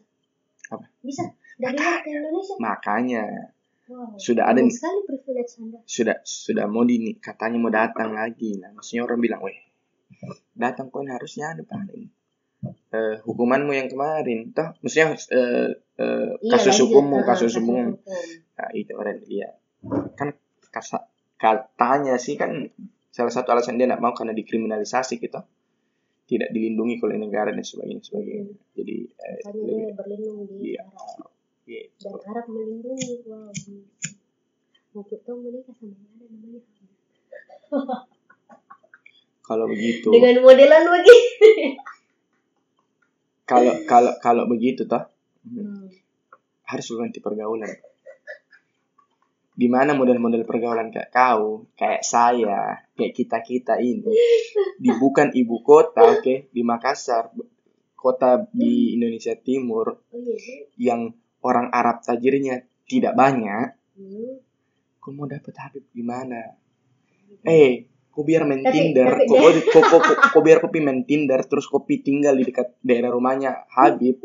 [SPEAKER 1] Apa?
[SPEAKER 2] Bisa. Dari luar ke Indonesia.
[SPEAKER 1] Makanya
[SPEAKER 2] Wow.
[SPEAKER 1] sudah ada
[SPEAKER 2] Bagus
[SPEAKER 1] nih,
[SPEAKER 2] sekali privilege Anda.
[SPEAKER 1] sudah sudah mau di katanya mau datang lagi. Nah, maksudnya orang bilang, "Weh, datang koin harusnya ada paling." Eh, hukumanmu yang kemarin, toh maksudnya eh, eh,
[SPEAKER 2] Iya,
[SPEAKER 1] kasus
[SPEAKER 2] lanjut.
[SPEAKER 1] hukummu,
[SPEAKER 2] Ah,
[SPEAKER 1] kasus hukummu.
[SPEAKER 2] hukum.
[SPEAKER 1] Nah, itu orang dia kan kasa, katanya sih kan salah satu alasan dia tidak mau karena dikriminalisasi gitu tidak dilindungi oleh negara dan sebagainya sebagainya jadi eh,
[SPEAKER 2] Makanya dia berlindung di
[SPEAKER 1] Iya.
[SPEAKER 2] Arab.
[SPEAKER 1] gitu.
[SPEAKER 2] Dan Arab melindungi. Wow. Mau tahu menikah sama yang ada namanya.
[SPEAKER 1] kalau begitu
[SPEAKER 2] Dengan modelan begini.
[SPEAKER 1] kalau kalau kalau begitu toh
[SPEAKER 2] Hmm.
[SPEAKER 1] harus lu ganti pergaulan di mana model-model pergaulan kayak kau kayak saya kayak kita kita ini di bukan ibu kota oke di Makassar kota di Indonesia Timur
[SPEAKER 2] Oh iya. sih.
[SPEAKER 1] yang orang Arab tajirnya tidak banyak,
[SPEAKER 2] Hmm.
[SPEAKER 1] kau mau dapet Habib gimana? Eh, kau biar main
[SPEAKER 2] Iya. Tapi-
[SPEAKER 1] Tinder,
[SPEAKER 2] tapi
[SPEAKER 1] kau, kau, kau, kau- kau biar kopi main Tinder, terus kopi tinggal di dekat daerah rumahnya Habib,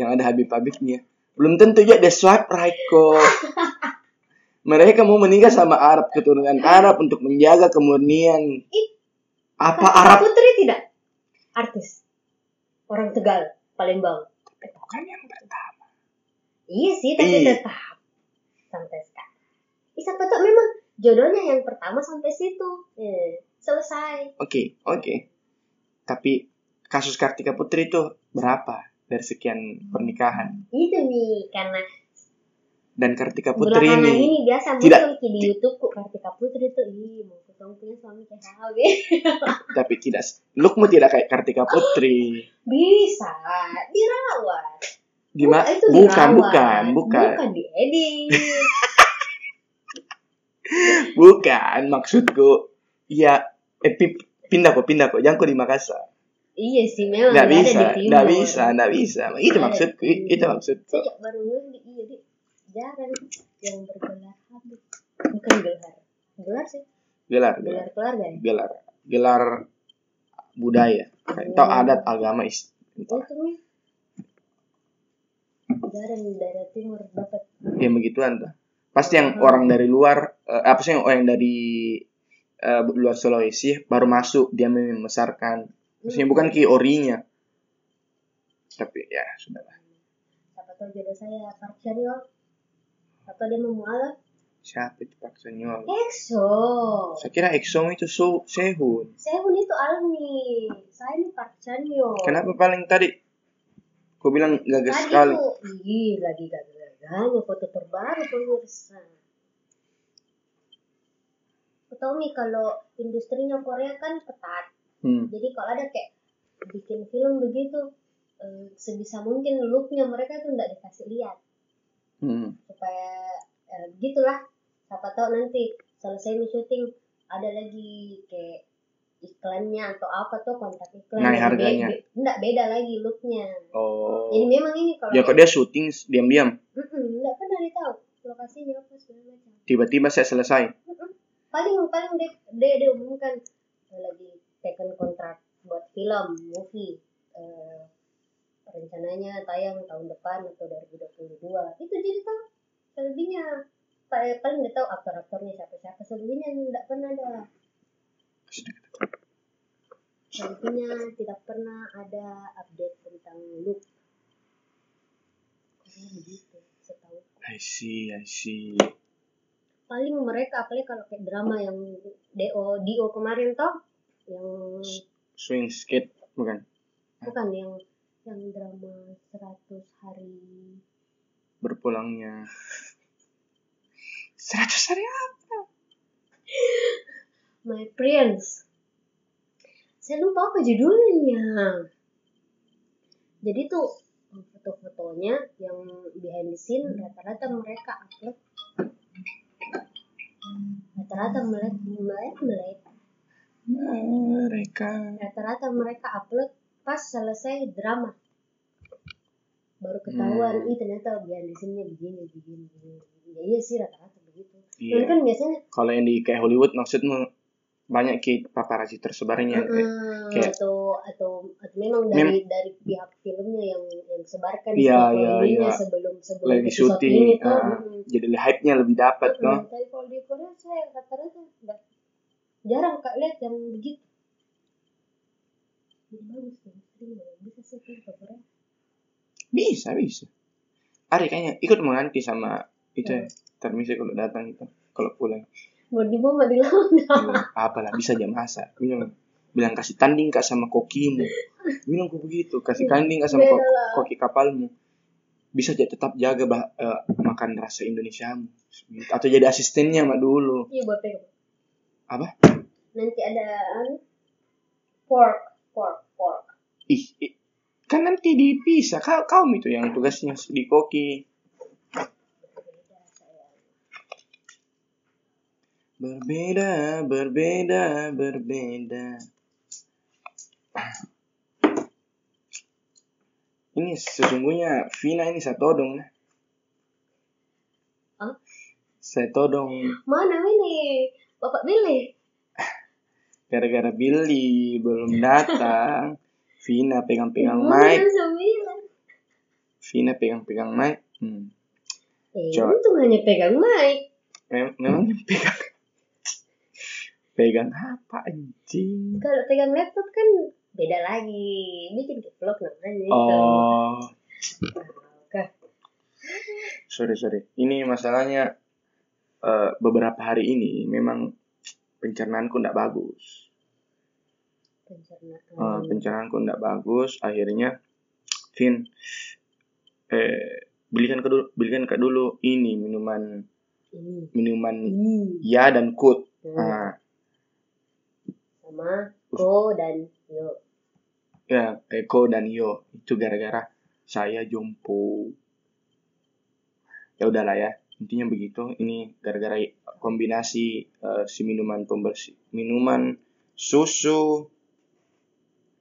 [SPEAKER 1] yang ada Habib Habibnya. Belum tentu juga dia swipe right kok. Mereka mau menikah sama Arab keturunan Arab untuk menjaga kemurnian.
[SPEAKER 2] Ih.
[SPEAKER 1] Apa
[SPEAKER 2] Kartika
[SPEAKER 1] Arab?
[SPEAKER 2] Putri tidak? Artis. Orang Tegal, Palembang.
[SPEAKER 1] Bukan Kan yang pertama.
[SPEAKER 2] Iya sih, tapi
[SPEAKER 1] Iya.
[SPEAKER 2] tetap sampai sekarang. Ih, sampai tuh memang jodohnya yang pertama sampai situ. Eh, selesai.
[SPEAKER 1] Oke, oke. Tapi kasus Kartika Putri itu berapa dari sekian pernikahan?
[SPEAKER 2] Itu nih karena
[SPEAKER 1] dan Kartika Putri
[SPEAKER 2] belakangan
[SPEAKER 1] ini,
[SPEAKER 2] ini, biasa
[SPEAKER 1] tidak-
[SPEAKER 2] muncul di YouTube kok Kartika Putri tuh ih mau ketemu punya suami kayak hal gitu.
[SPEAKER 1] tapi tidak lookmu tidak kayak Kartika Putri
[SPEAKER 2] Bisa dirawat.
[SPEAKER 1] Gima-
[SPEAKER 2] Bukan, itu
[SPEAKER 1] bukan,
[SPEAKER 2] dirawat.
[SPEAKER 1] bukan bukan
[SPEAKER 2] Bukan diedit.
[SPEAKER 1] bukan maksudku ya eh, pi- pindah kok pindah kok jangan kok di Makassar
[SPEAKER 2] iya sih memang
[SPEAKER 1] nggak
[SPEAKER 2] nggak ada
[SPEAKER 1] bisa
[SPEAKER 2] di timur.
[SPEAKER 1] nggak bisa nggak bisa itu
[SPEAKER 2] Ada
[SPEAKER 1] maksudku
[SPEAKER 2] di
[SPEAKER 1] itu
[SPEAKER 2] timur.
[SPEAKER 1] maksudku
[SPEAKER 2] Saya baru ngeh di iya di jarang yang bergelar habis. Bukan gelar. Gelar sih.
[SPEAKER 1] gelar gelar
[SPEAKER 2] Gelar keluarga ya.
[SPEAKER 1] gelar gelar budaya atau
[SPEAKER 2] Iya.
[SPEAKER 1] adat agama is
[SPEAKER 2] Oh, Itu nih. Jarang di daerah timur dapat.
[SPEAKER 1] yang begituan tuh pasti yang
[SPEAKER 2] Hmm.
[SPEAKER 1] orang dari luar eh, apa sih yang orang dari eh, luar Sulawesi baru masuk dia membesarkan Maksudnya bukan ki orinya. Tapi ya sudah lah.
[SPEAKER 2] Siapa tahu jodoh saya Park Cheryl. Atau dia mau mualaf.
[SPEAKER 1] Siapa itu Pak Senyol?
[SPEAKER 2] EXO.
[SPEAKER 1] Saya kira EXO itu so Sehun.
[SPEAKER 2] Saya pun itu alumni. Saya ini Park Chanyo.
[SPEAKER 1] Kenapa paling tadi? Kau bilang gagal
[SPEAKER 2] Tadi
[SPEAKER 1] sekali.
[SPEAKER 2] tuh, ih, lagi gagal-gagalnya foto terbaru pemirsa. Kau Tahu nih kalau industrinya Korea kan ketat.
[SPEAKER 1] Hmm.
[SPEAKER 2] Jadi kalau ada kayak bikin film begitu, eh, sebisa mungkin looknya mereka tuh nggak dikasih lihat
[SPEAKER 1] Hmm.
[SPEAKER 2] supaya eh, gitulah. Siapa tahu nanti selesai nih syuting ada lagi kayak iklannya atau apa tuh kontak iklan.
[SPEAKER 1] Naik
[SPEAKER 2] Jadi
[SPEAKER 1] Nah, harganya.
[SPEAKER 2] be- be- nggak beda lagi looknya. Jadi
[SPEAKER 1] Oh.
[SPEAKER 2] memang ini kalau
[SPEAKER 1] Ya kok dia syuting diam-diam.
[SPEAKER 2] Mm-mm, nggak pernah ditahu lokasinya apa segala macam.
[SPEAKER 1] Tiba-tiba saya selesai.
[SPEAKER 2] Mm-mm. Paling paling dia dia, dia umumkan eh, lagi taken kontrak buat film, movie. Eh, rencananya tayang tahun depan atau 2022. Itu jadi tahu selebihnya Pa- eh, paling dia tahu aktor-aktornya siapa-siapa selebihnya nggak pernah ada selebihnya tidak pernah ada update tentang look Karena begitu setahu
[SPEAKER 1] I see, I see.
[SPEAKER 2] paling mereka apalagi kalau kayak drama yang do do kemarin toh yang
[SPEAKER 1] Swing skate bukan
[SPEAKER 2] bukan yang yang drama 100 hari
[SPEAKER 1] berpulangnya. 100 hari apa?
[SPEAKER 2] my prince saya lupa apa judulnya jadi tuh foto-fotonya yang behind the scene rata-rata mereka upload rata-rata melek melek melek
[SPEAKER 1] Mereka.
[SPEAKER 2] rata-rata Nah, mereka upload pas selesai drama baru ketahuan
[SPEAKER 1] Hmm.
[SPEAKER 2] ih ternyata behind the scene-nya begini begini begini ya iya sih rata-rata begitu
[SPEAKER 1] Iya.
[SPEAKER 2] Dan kan biasanya
[SPEAKER 1] Kalau yang di kayak Hollywood maksudmu banyak ki paparazzi tersebarnya.
[SPEAKER 2] "Ah,
[SPEAKER 1] Iya, kayak-
[SPEAKER 2] atau atau memang dari dari pihak filmnya yang yang sebarkan
[SPEAKER 1] Iya,
[SPEAKER 2] foto
[SPEAKER 1] iya, iya.
[SPEAKER 2] ininya sebelum sebelum
[SPEAKER 1] lagi
[SPEAKER 2] episode ini
[SPEAKER 1] syuting
[SPEAKER 2] tuh
[SPEAKER 1] ah,
[SPEAKER 2] mm.
[SPEAKER 1] jadi hype-nya lebih dapat
[SPEAKER 2] Mm,
[SPEAKER 1] kan
[SPEAKER 2] tapi kalau di Korea saya rata-rata nggak- jarang kak lihat yang begitu Jadi bagus ya sering ya. bisa sih film ke Korea
[SPEAKER 1] bisa bisa Ari kayaknya ikut menganti sama itu ya
[SPEAKER 2] Hmm.
[SPEAKER 1] termisi kalau datang itu kalau pulang
[SPEAKER 2] mau dibawa nggak dilawan
[SPEAKER 1] apalah bisa jam masa bilang bilang kasih tanding kak sama kokimu bilang kok begitu kasih tanding kak sama
[SPEAKER 2] beda
[SPEAKER 1] ko-
[SPEAKER 2] lah
[SPEAKER 1] koki kapalmu bisa ja- tetap jaga bah- eh, makan rasa Indonesiamu atau jadi asistennya mah dulu
[SPEAKER 2] iya buat pegang
[SPEAKER 1] Apa?
[SPEAKER 2] nanti ada anu, pork pork pork
[SPEAKER 1] ih, ih. kan nanti dipisah kau kau itu yang tugasnya di koki
[SPEAKER 2] beda saya
[SPEAKER 1] berbeda berbeda berbeda ini sesungguhnya Vina ini saya todong nah.
[SPEAKER 2] Hah?
[SPEAKER 1] saya todong
[SPEAKER 2] mana ini bapak Billy
[SPEAKER 1] gara-gara Billy belum datang Vina pegang-pegang
[SPEAKER 2] Mana
[SPEAKER 1] mic
[SPEAKER 2] sembilan
[SPEAKER 1] Vina pegang-pegang mic hmm.
[SPEAKER 2] eh
[SPEAKER 1] Coba.
[SPEAKER 2] untung hanya pegang mic
[SPEAKER 1] Mem- memang pegang pegang apa anjing
[SPEAKER 2] kalau pegang laptop kan beda lagi bikin vlog namanya
[SPEAKER 1] oh
[SPEAKER 2] Kah?
[SPEAKER 1] sorry sorry ini masalahnya eh, beberapa hari ini memang pencernaanku tidak bagus
[SPEAKER 2] pencernaan
[SPEAKER 1] Eh, pencernaanku tidak bagus akhirnya Vin eh, belikan ke dulu belikan ke dulu ini minuman
[SPEAKER 2] ini
[SPEAKER 1] minuman
[SPEAKER 2] ini
[SPEAKER 1] ya dan kut
[SPEAKER 2] Nah,
[SPEAKER 1] Nah,
[SPEAKER 2] sama ko dan yo
[SPEAKER 1] ya Eko dan Yo itu gara-gara saya jompo ya udahlah ya intinya begitu ini gara-gara kombinasi eh, si minuman pembersih minuman susu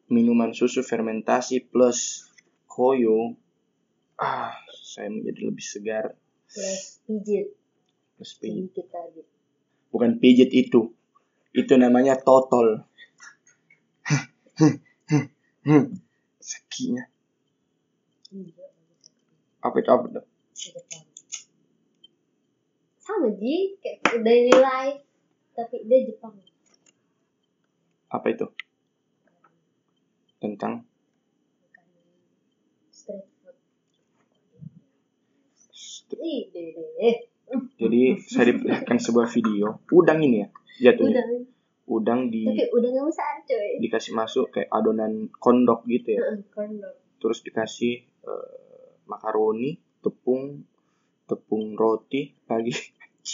[SPEAKER 1] minuman susu fermentasi plus koyo ah saya menjadi lebih segar
[SPEAKER 2] plus pijit
[SPEAKER 1] plus pijit.
[SPEAKER 2] sedikit tadi
[SPEAKER 1] bukan pijit itu itu namanya totol sakitnya
[SPEAKER 2] Iya,
[SPEAKER 1] apa itu apa itu?
[SPEAKER 2] ke depan. sama ji kayak dari live tapi dia Jepang
[SPEAKER 1] apa itu tentang
[SPEAKER 2] bukan street food
[SPEAKER 1] st-
[SPEAKER 2] ih deh deh, deh
[SPEAKER 1] jadi saya diperlihatkan sebuah video udang ini ya jatuhnya
[SPEAKER 2] udah
[SPEAKER 1] udang di
[SPEAKER 2] tapi udah nggak besar coy
[SPEAKER 1] dikasih masuk kayak adonan kondok gitu ya
[SPEAKER 2] Heeh, corn dog
[SPEAKER 1] terus dikasih eh, makaroni tepung tepung roti lagi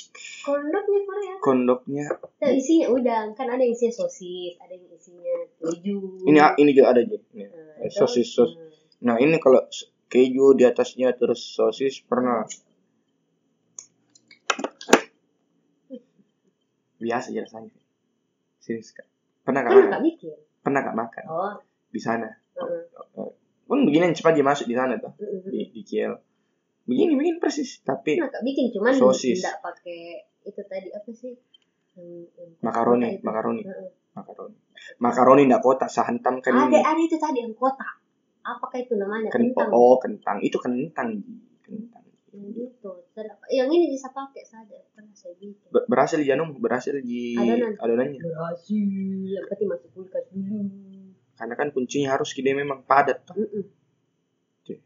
[SPEAKER 2] corn dognya Korea
[SPEAKER 1] kondoknya
[SPEAKER 2] Nah, isinya udang kan ada yang isinya sosis ada yang isinya keju
[SPEAKER 1] ini ah, ini juga ada aja ini.
[SPEAKER 2] Nah,
[SPEAKER 1] eh,
[SPEAKER 2] itu,
[SPEAKER 1] sosis sos
[SPEAKER 2] hmm.
[SPEAKER 1] Nah ini kalau s- keju di atasnya terus sosis pernah biasa aja rasanya. Serius kak. Pernah kak
[SPEAKER 2] Kan
[SPEAKER 1] makan?
[SPEAKER 2] nggak bikin.
[SPEAKER 1] Pernah kak makan
[SPEAKER 2] Oh.
[SPEAKER 1] di sana?
[SPEAKER 2] heeh.
[SPEAKER 1] Pun begini yang cepat dia masuk di sana tuh
[SPEAKER 2] Mm-mm.
[SPEAKER 1] di, di KL. Begini begini persis tapi
[SPEAKER 2] Pernah nggak bikin cuman
[SPEAKER 1] Sosis.
[SPEAKER 2] nggak pakai itu tadi apa sih? Yang- yang-
[SPEAKER 1] makaroni
[SPEAKER 2] itu.
[SPEAKER 1] makaroni
[SPEAKER 2] Heeh.
[SPEAKER 1] makaroni makaroni ndak kotak sahantam kan
[SPEAKER 2] Ada
[SPEAKER 1] ini
[SPEAKER 2] ada itu tadi yang kotak. Apakah itu namanya?
[SPEAKER 1] kentang
[SPEAKER 2] Kentang.
[SPEAKER 1] oh kentang itu kentang kentang
[SPEAKER 2] Yang gitu. Ter- Yang ini bisa pakai saja. Pernah saya bikin.
[SPEAKER 1] Ber- berhasil Janum berhasil di
[SPEAKER 2] Adonan.
[SPEAKER 1] adonannya
[SPEAKER 2] Berhasil. Yang penting masuk kulkas dulu.
[SPEAKER 1] karena kan kuncinya harus dia memang padat tuh.
[SPEAKER 2] Mm-mm.
[SPEAKER 1] Oke.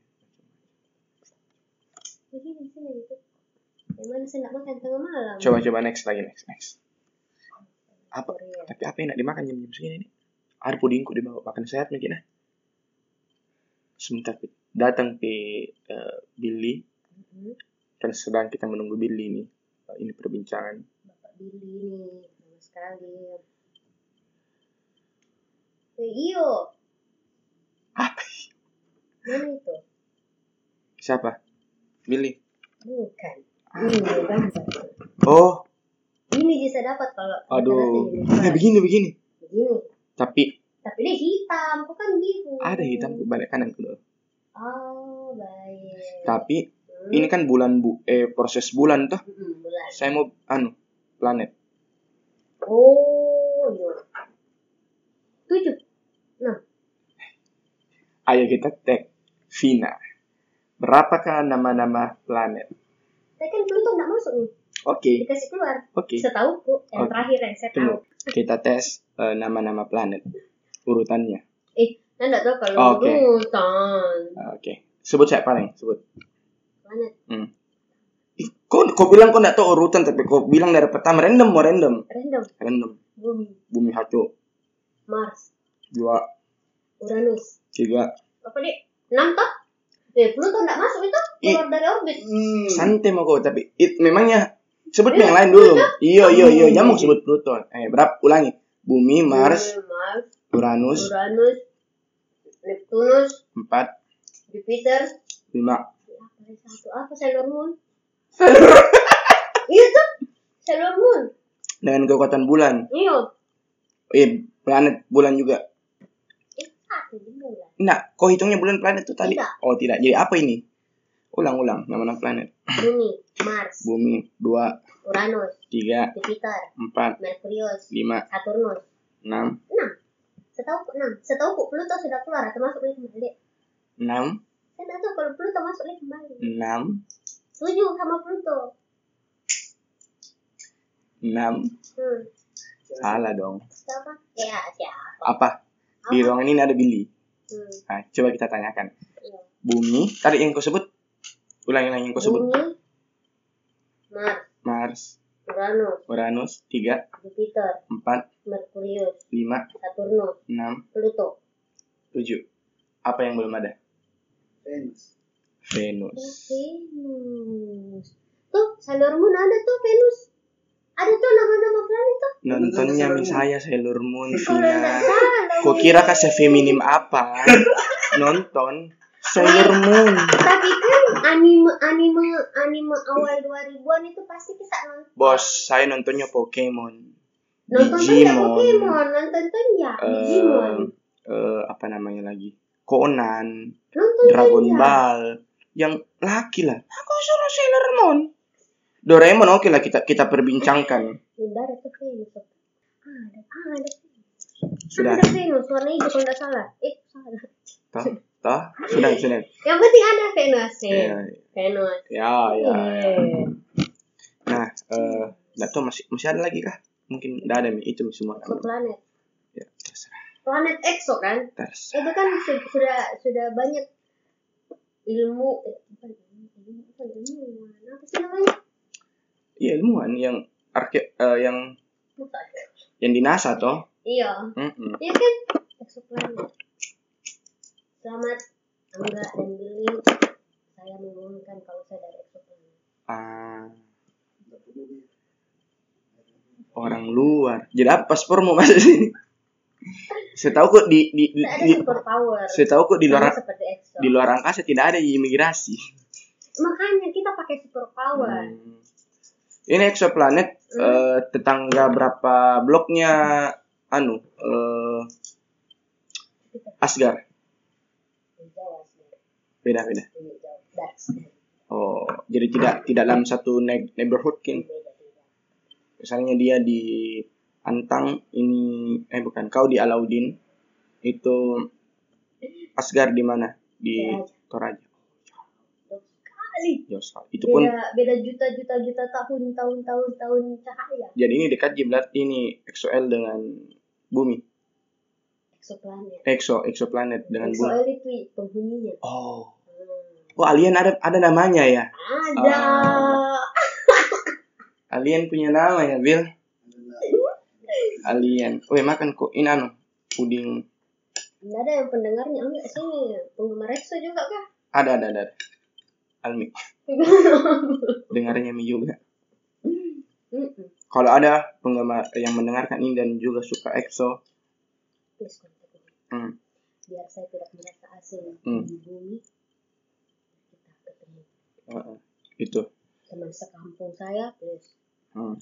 [SPEAKER 2] Begini sini gitu. Yang mana saya nggak makan tengah malam.
[SPEAKER 1] coba coba next lagi next next apa
[SPEAKER 2] Korea.
[SPEAKER 1] Tapi apa yang nak dimakan jam jam segini nih? Ada pudingku di bawah makan sehat mungkin nah. Sebentar Pi. datang pe eh, Billy
[SPEAKER 2] Mm-mm.
[SPEAKER 1] karena sedang kita menunggu Billy nih. Eh, ini perbincangan.
[SPEAKER 2] Bapak Billy nih, sama sekali. Eh, iyo.
[SPEAKER 1] Apa?
[SPEAKER 2] Mana itu?
[SPEAKER 1] Siapa? Billy.
[SPEAKER 2] Bukan. Ini gambar.
[SPEAKER 1] Oh,
[SPEAKER 2] Ini bisa dapat kalau
[SPEAKER 1] aduh.
[SPEAKER 2] kita
[SPEAKER 1] Ini
[SPEAKER 2] lihat ini.
[SPEAKER 1] begini begini.
[SPEAKER 2] Begini.
[SPEAKER 1] Tapi
[SPEAKER 2] Tapi dia hitam, kok kan biru.
[SPEAKER 1] ada hitam ke balik kanan ke bawah.
[SPEAKER 2] Oh, baik.
[SPEAKER 1] Tapi
[SPEAKER 2] Hmm.
[SPEAKER 1] ini kan bulan bu eh proses bulan tuh.
[SPEAKER 2] Mm-mm, bulan.
[SPEAKER 1] Saya mau anu planet.
[SPEAKER 2] iya. Oh, iyo. Tujuh.
[SPEAKER 1] Ayo kita tag Vina. Berapakah nama-nama planet?
[SPEAKER 2] Tapi kan Pluto nggak masuk nih.
[SPEAKER 1] Oke,
[SPEAKER 2] Dikasih keluar.
[SPEAKER 1] oke.
[SPEAKER 2] Setauku yang
[SPEAKER 1] Oke.
[SPEAKER 2] terakhir yang saya tahu.
[SPEAKER 1] Iya. Oh, Tunggu. Kita tes eh, nama-nama planet. Urutannya.
[SPEAKER 2] Nah, nggak tahu kalau
[SPEAKER 1] Oke.
[SPEAKER 2] Pluton.
[SPEAKER 1] Ah, Oke. Sebut saya paling, sebut.
[SPEAKER 2] Planet
[SPEAKER 1] Hmm. Ih, Kau, kau bilang kau nggak tahu urutan, tapi kau bilang dari pertama random, mau random,
[SPEAKER 2] random.
[SPEAKER 1] random.
[SPEAKER 2] Bumi,
[SPEAKER 1] Bumi satu,
[SPEAKER 2] Mars,
[SPEAKER 1] dua,
[SPEAKER 2] Uranus.
[SPEAKER 1] tiga.
[SPEAKER 2] Apa deh? Enam toh? Eh, Pluto nggak masuk itu
[SPEAKER 1] Iya.
[SPEAKER 2] keluar dari orbit.
[SPEAKER 1] Santai mau kau, tapi it, memangnya sebut
[SPEAKER 2] Iya, Hmm.
[SPEAKER 1] yang lain dulu. Iyo, iyo, iyo, jamu sebut Pluton. Eh, berapa? Ulangi. Bumi, Mars,
[SPEAKER 2] Bumi, Hmm, Mars,
[SPEAKER 1] Uranus,
[SPEAKER 2] Uranus, Neptunus,
[SPEAKER 1] empat,
[SPEAKER 2] Jupiter.
[SPEAKER 1] lima.
[SPEAKER 2] Apa yang satu? Apa Sailor Moon? Iya tuh. Sailor Moon.
[SPEAKER 1] Dengan kekuatan bulan.
[SPEAKER 2] Iya.
[SPEAKER 1] Eh, planet bulan juga.
[SPEAKER 2] Eh, satu di bulan.
[SPEAKER 1] Nah, kau hitungnya bulan planet tuh tadi?
[SPEAKER 2] Tidak.
[SPEAKER 1] Oh, tidak. Jadi apa ini? Ulang-ulang, nama-nama planet.
[SPEAKER 2] Bumi, Mars,
[SPEAKER 1] Bumi, dua,
[SPEAKER 2] Uranus,
[SPEAKER 1] tiga,
[SPEAKER 2] Jupiter,
[SPEAKER 1] empat,
[SPEAKER 2] Merkurius,
[SPEAKER 1] lima,
[SPEAKER 2] Saturnus.
[SPEAKER 1] enam,
[SPEAKER 2] Enam. Setahu enam. Setahu kok Pluto sudah keluar atau masuk lagi kembali.
[SPEAKER 1] enam,
[SPEAKER 2] Saya nggak tahu kalau Pluto masuk lagi kembali.
[SPEAKER 1] enam,
[SPEAKER 2] Setuju sama Pluto.
[SPEAKER 1] enam.
[SPEAKER 2] Hmm.
[SPEAKER 1] Salah dong.
[SPEAKER 2] Siapa? Ya, siapa?
[SPEAKER 1] Apa? Di ruangan ini ada Billy.
[SPEAKER 2] Hmm.
[SPEAKER 1] Nah, coba kita tanyakan.
[SPEAKER 2] Iya.
[SPEAKER 1] Bumi, tadi yang kau sebut? Ulangi lagi yang kau sebut.
[SPEAKER 2] Bumi, Mars,
[SPEAKER 1] Mars,
[SPEAKER 2] Uranus,
[SPEAKER 1] Uranus, tiga,
[SPEAKER 2] Jupiter,
[SPEAKER 1] empat,
[SPEAKER 2] Merkurius,
[SPEAKER 1] lima,
[SPEAKER 2] Saturnus,
[SPEAKER 1] enam,
[SPEAKER 2] Pluto.
[SPEAKER 1] tujuh. Apa yang belum ada?
[SPEAKER 3] Venus.
[SPEAKER 1] Venus.
[SPEAKER 2] Oh, Venus. Tuh, Sailor Moon ada tuh Venus. Ada tuh nama-nama planet tuh.
[SPEAKER 1] Nontonnya saya Sailor Moon,
[SPEAKER 2] Kalau nggak
[SPEAKER 1] Vina.
[SPEAKER 2] salah.
[SPEAKER 1] Kau Iya. kira kah saya feminim apa? Nonton Sailor Moon.
[SPEAKER 2] Tapi kan anime anime anime awal 2000-an itu pasti kita nonton.
[SPEAKER 1] Bos, saya nontonnya Pokemon.
[SPEAKER 2] Nonton tuh ya
[SPEAKER 1] Digimon.
[SPEAKER 2] Pokemon, nonton tuh ya Digimon.
[SPEAKER 1] Eh, eh, apa namanya lagi? Conan,
[SPEAKER 2] Nonton tuh
[SPEAKER 1] Dragon
[SPEAKER 2] ya.
[SPEAKER 1] Ball, yang laki lah. Aku suruh Sailor Moon. Doraemon oke lah kita kita perbincangkan.
[SPEAKER 2] Bunda ada tuh Venus. Ah, Ada, ada.
[SPEAKER 1] Sudah,
[SPEAKER 2] Ada Venus, warna hijau kalau nggak salah. Eh, salah.
[SPEAKER 1] toh, toh, sudah, sudah.
[SPEAKER 2] Yang penting ada Venus nih.
[SPEAKER 1] Ya,
[SPEAKER 2] Venus.
[SPEAKER 1] ya, ya. ya.
[SPEAKER 2] Eh,
[SPEAKER 1] Nah, eh, nggak tahu masih masih ada lagi kah? Mungkin nggak ada Mi. itu semua.
[SPEAKER 2] ke planet.
[SPEAKER 1] Ya, terserah,
[SPEAKER 2] Planet EXO kan?
[SPEAKER 1] terserah.
[SPEAKER 2] Itu kan su- sudah sudah banyak ilmu eh, bukan ilmu, ilmu, bukan ilmu. Apa sih namanya?
[SPEAKER 1] Iya ilmuwan yang arke eh, yang
[SPEAKER 2] Bukan.
[SPEAKER 1] yang di NASA toh.
[SPEAKER 2] Iya.
[SPEAKER 1] Mm-mm.
[SPEAKER 2] Iya kan? Eksoplanet. Selamat Angga dan Billy. Saya mengumumkan kalau saya dari eksoplanet.
[SPEAKER 1] Ah, orang luar. Jadi apa paspor mau masuk sini? Setahu kok di di, di,
[SPEAKER 2] Saya ada
[SPEAKER 1] di
[SPEAKER 2] super power.
[SPEAKER 1] setahu kok di luar
[SPEAKER 2] seperti EXO.
[SPEAKER 1] di luar angkasa tidak ada imigrasi.
[SPEAKER 2] Makanya kita pakai super power.
[SPEAKER 1] Hmm. Ini eksoplanet eh, tetangga berapa bloknya anu eh, Asgard
[SPEAKER 2] Jawa sih.
[SPEAKER 1] beda-beda.
[SPEAKER 2] Ini Jawa. That's
[SPEAKER 1] Oh, jadi tidak tidak dalam satu ne- neighborhood kin.
[SPEAKER 2] beda-beda.
[SPEAKER 1] misalnya dia di Antang ini eh bukan kau di Alauddin itu Asgard di mana di Toraja
[SPEAKER 2] Toraja. Jauh Sekali.
[SPEAKER 1] jauh sekali itu pun
[SPEAKER 2] Beda, beda juta juta juta tahun tahun tahun tahun cahaya.
[SPEAKER 1] jadi ini dekat jiblat ini EXO-L dengan bumi Eh,
[SPEAKER 2] Eksoplanet.
[SPEAKER 1] EXO EXOPlanet dengan bumi
[SPEAKER 2] Soal itu penghuninya.
[SPEAKER 1] oh oh
[SPEAKER 2] Hmm.
[SPEAKER 1] alien ada ada namanya ya
[SPEAKER 2] Ada.
[SPEAKER 1] alien punya nama ya Bill
[SPEAKER 3] Adalah
[SPEAKER 1] alien weh makan kok ini anu puding
[SPEAKER 2] Nggak ada yang pendengarnya enggak sih penggemar EXO juga kah?
[SPEAKER 1] ada ada ada Almi dengarnya Mi juga
[SPEAKER 2] Mm-mm.
[SPEAKER 1] kalau ada penggemar eh, yang mendengarkan ini dan juga suka EXO
[SPEAKER 2] Please contact me.
[SPEAKER 1] hmm,
[SPEAKER 2] biar saya tidak merasa asing
[SPEAKER 1] Hmm.
[SPEAKER 2] di bumi kita ketemu
[SPEAKER 1] uh-uh, itu
[SPEAKER 2] teman sekampung saya please
[SPEAKER 1] hmm.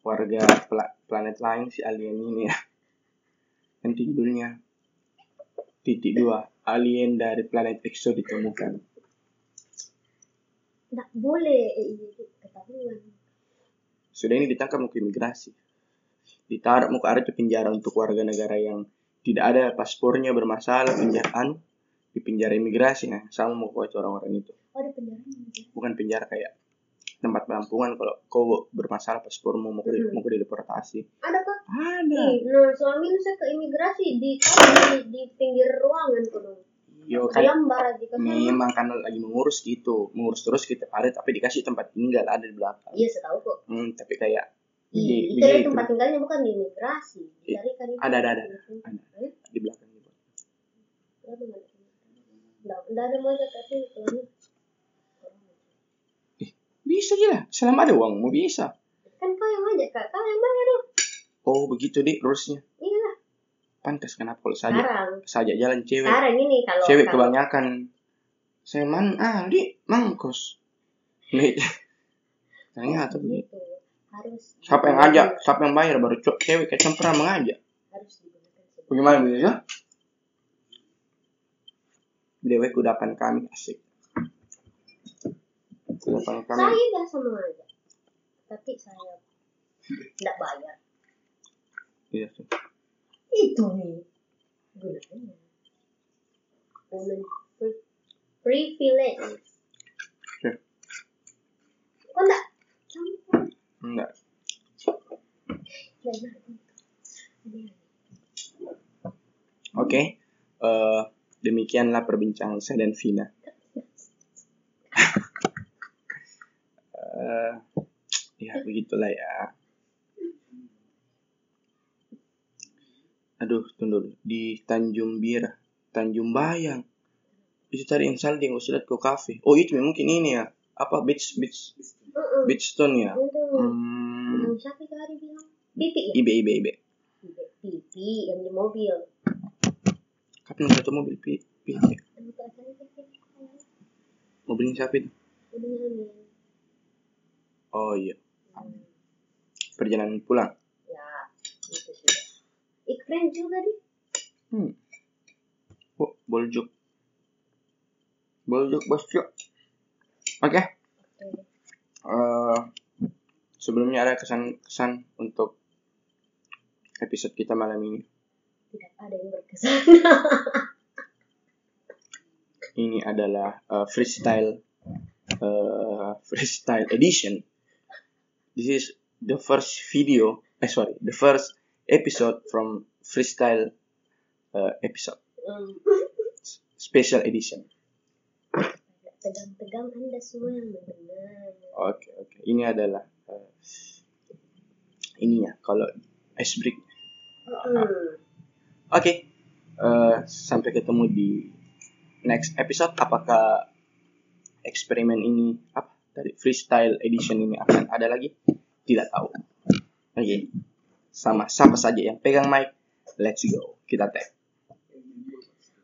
[SPEAKER 1] warga pla- planet lain si alien ini ya nanti judulnya titik dua alien dari planet EXO ditemukan
[SPEAKER 2] nggak boleh eh, ini tuh ketahuan Oh,
[SPEAKER 1] sudah ini ditangkap mau ke imigrasi ditaruh mau ke area penjara untuk warga negara yang tidak ada paspornya bermasalah penjaraan di di penjara imigrasi nah sama mau coach orang-orang itu
[SPEAKER 2] oh di penjara aja
[SPEAKER 1] bukan penjara kayak tempat penampungan kalau kau bermasalah paspormu mau di,
[SPEAKER 2] Mhm.
[SPEAKER 1] mau dideportasi
[SPEAKER 2] ada kok
[SPEAKER 1] ada
[SPEAKER 2] Ih, nah suami saya ke imigrasi di di, di pinggir ruangan kudu
[SPEAKER 1] yo kayak
[SPEAKER 2] ayam bara jika saya
[SPEAKER 1] memang karena lagi mengurus gitu mengurus terus kita hari tapi dikasih tempat tinggal ada di belakang
[SPEAKER 2] iya saya tahu kok
[SPEAKER 1] Hmm, tapi kayak
[SPEAKER 2] Ih,
[SPEAKER 1] di, di, Iya,
[SPEAKER 2] itu dia
[SPEAKER 1] itu, Iya.
[SPEAKER 2] tempat tinggalnya bukan di imigrasi dicari kan
[SPEAKER 1] Ada, ada, ada. di belakang gitu.
[SPEAKER 2] Tidak ada mau tapi itu
[SPEAKER 1] bisa gila selama ada uang mau bisa
[SPEAKER 2] kan kau yang aja kak kau yang bayar dong
[SPEAKER 1] oh begitu deh terusnya
[SPEAKER 2] iya lah
[SPEAKER 1] pantas kenapa kalau saja
[SPEAKER 2] sekarang
[SPEAKER 1] saja jalan cewek
[SPEAKER 2] sekarang ini kalau
[SPEAKER 1] cewek
[SPEAKER 2] kalau-
[SPEAKER 1] kebanyakan saya man ahli mangkos nih ternyata begitu
[SPEAKER 2] gitu harus
[SPEAKER 1] siapa yang ngajak siapa yang bayar baru cok cewek kayak sempurna mengajak
[SPEAKER 2] harus digunakan sebagai-
[SPEAKER 1] bagaimana ya? Bu Yaya? dewe kudapan kami asik kudapan kami
[SPEAKER 2] saya biasa mengajak tapi saya tidak bayar
[SPEAKER 1] iya tuh.
[SPEAKER 2] itu nih gunanya woman pri- privilege
[SPEAKER 1] Oke.
[SPEAKER 2] kok enggak campur
[SPEAKER 1] enggak
[SPEAKER 2] dan Iya.
[SPEAKER 1] oke Eh, demikianlah perbincangan saya dan Vina Eh, ya begitulah ya aduh tunggu dulu. di Tanjung Bira Tanjung Bayang itu tadi yang salah dia nggak usah lihat ke kafe oh itu mungkin ini ya apa beach beach
[SPEAKER 2] Mm-mm.
[SPEAKER 1] Beachstone ya
[SPEAKER 2] Itu.
[SPEAKER 1] hmm,
[SPEAKER 2] Yang siapa itu hari bilang? Pipi ya?
[SPEAKER 1] ibe ibe ibe
[SPEAKER 2] Pipi yang di mobil.
[SPEAKER 1] kapan satu mobil pi pi ya?
[SPEAKER 2] Aduh, perasaannya sakit.
[SPEAKER 1] mobilnya siapa itu
[SPEAKER 2] Udah nyaman.
[SPEAKER 1] oh iya
[SPEAKER 2] Hmm.
[SPEAKER 1] perjalanan pulang
[SPEAKER 2] Ya, itu sih. Ih, keren juga nih.
[SPEAKER 1] oh, boljuk boljuk bos Cuk. oke
[SPEAKER 2] Oke.
[SPEAKER 1] Eh, sebelumnya ada kesan-kesan untuk episode kita malam ini.
[SPEAKER 2] Tidak ada yang berkesan.
[SPEAKER 1] Ini adalah eh, freestyle eh, freestyle edition. This is the first video, eh sorry, the first episode from freestyle eh, episode
[SPEAKER 2] Hmm.
[SPEAKER 1] special edition.
[SPEAKER 2] Agak Tegang-tegang Anda semua yang mendengar.
[SPEAKER 1] Oke oke, ini adalah eh, ininya kalau ice break
[SPEAKER 2] Hmm.
[SPEAKER 1] Oke, eh, sampai ketemu di next episode. Apakah eksperimen ini apa dari freestyle edition ini akan ada lagi? Tidak tahu. Oke, sama siapa saja yang pegang mic, let's go. Kita tag.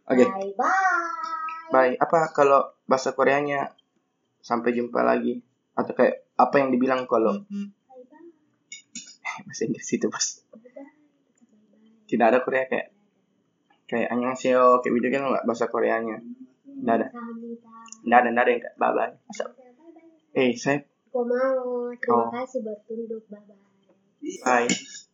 [SPEAKER 1] Oke,
[SPEAKER 2] Bye-bye.
[SPEAKER 1] bye. Apa kalau bahasa Koreanya sampai jumpa lagi atau kayak apa yang dibilang kalau
[SPEAKER 2] Bye-bye.
[SPEAKER 1] bahasa Inggris itu bos?
[SPEAKER 2] Bye-bye. Bye-bye.
[SPEAKER 1] Tidak ada Korea kayak kayak annyeonghaseyo kayak video kan bahasa Koreanya. Tidak ada.
[SPEAKER 2] Kamita.
[SPEAKER 1] Nggak ada, nggak ada yang kayak bye bye.
[SPEAKER 2] Bye-bye.
[SPEAKER 1] Eh, saya
[SPEAKER 2] Gua mau.
[SPEAKER 1] Oh.
[SPEAKER 2] Terima kasih bertunduk. Bye-bye.
[SPEAKER 1] bye.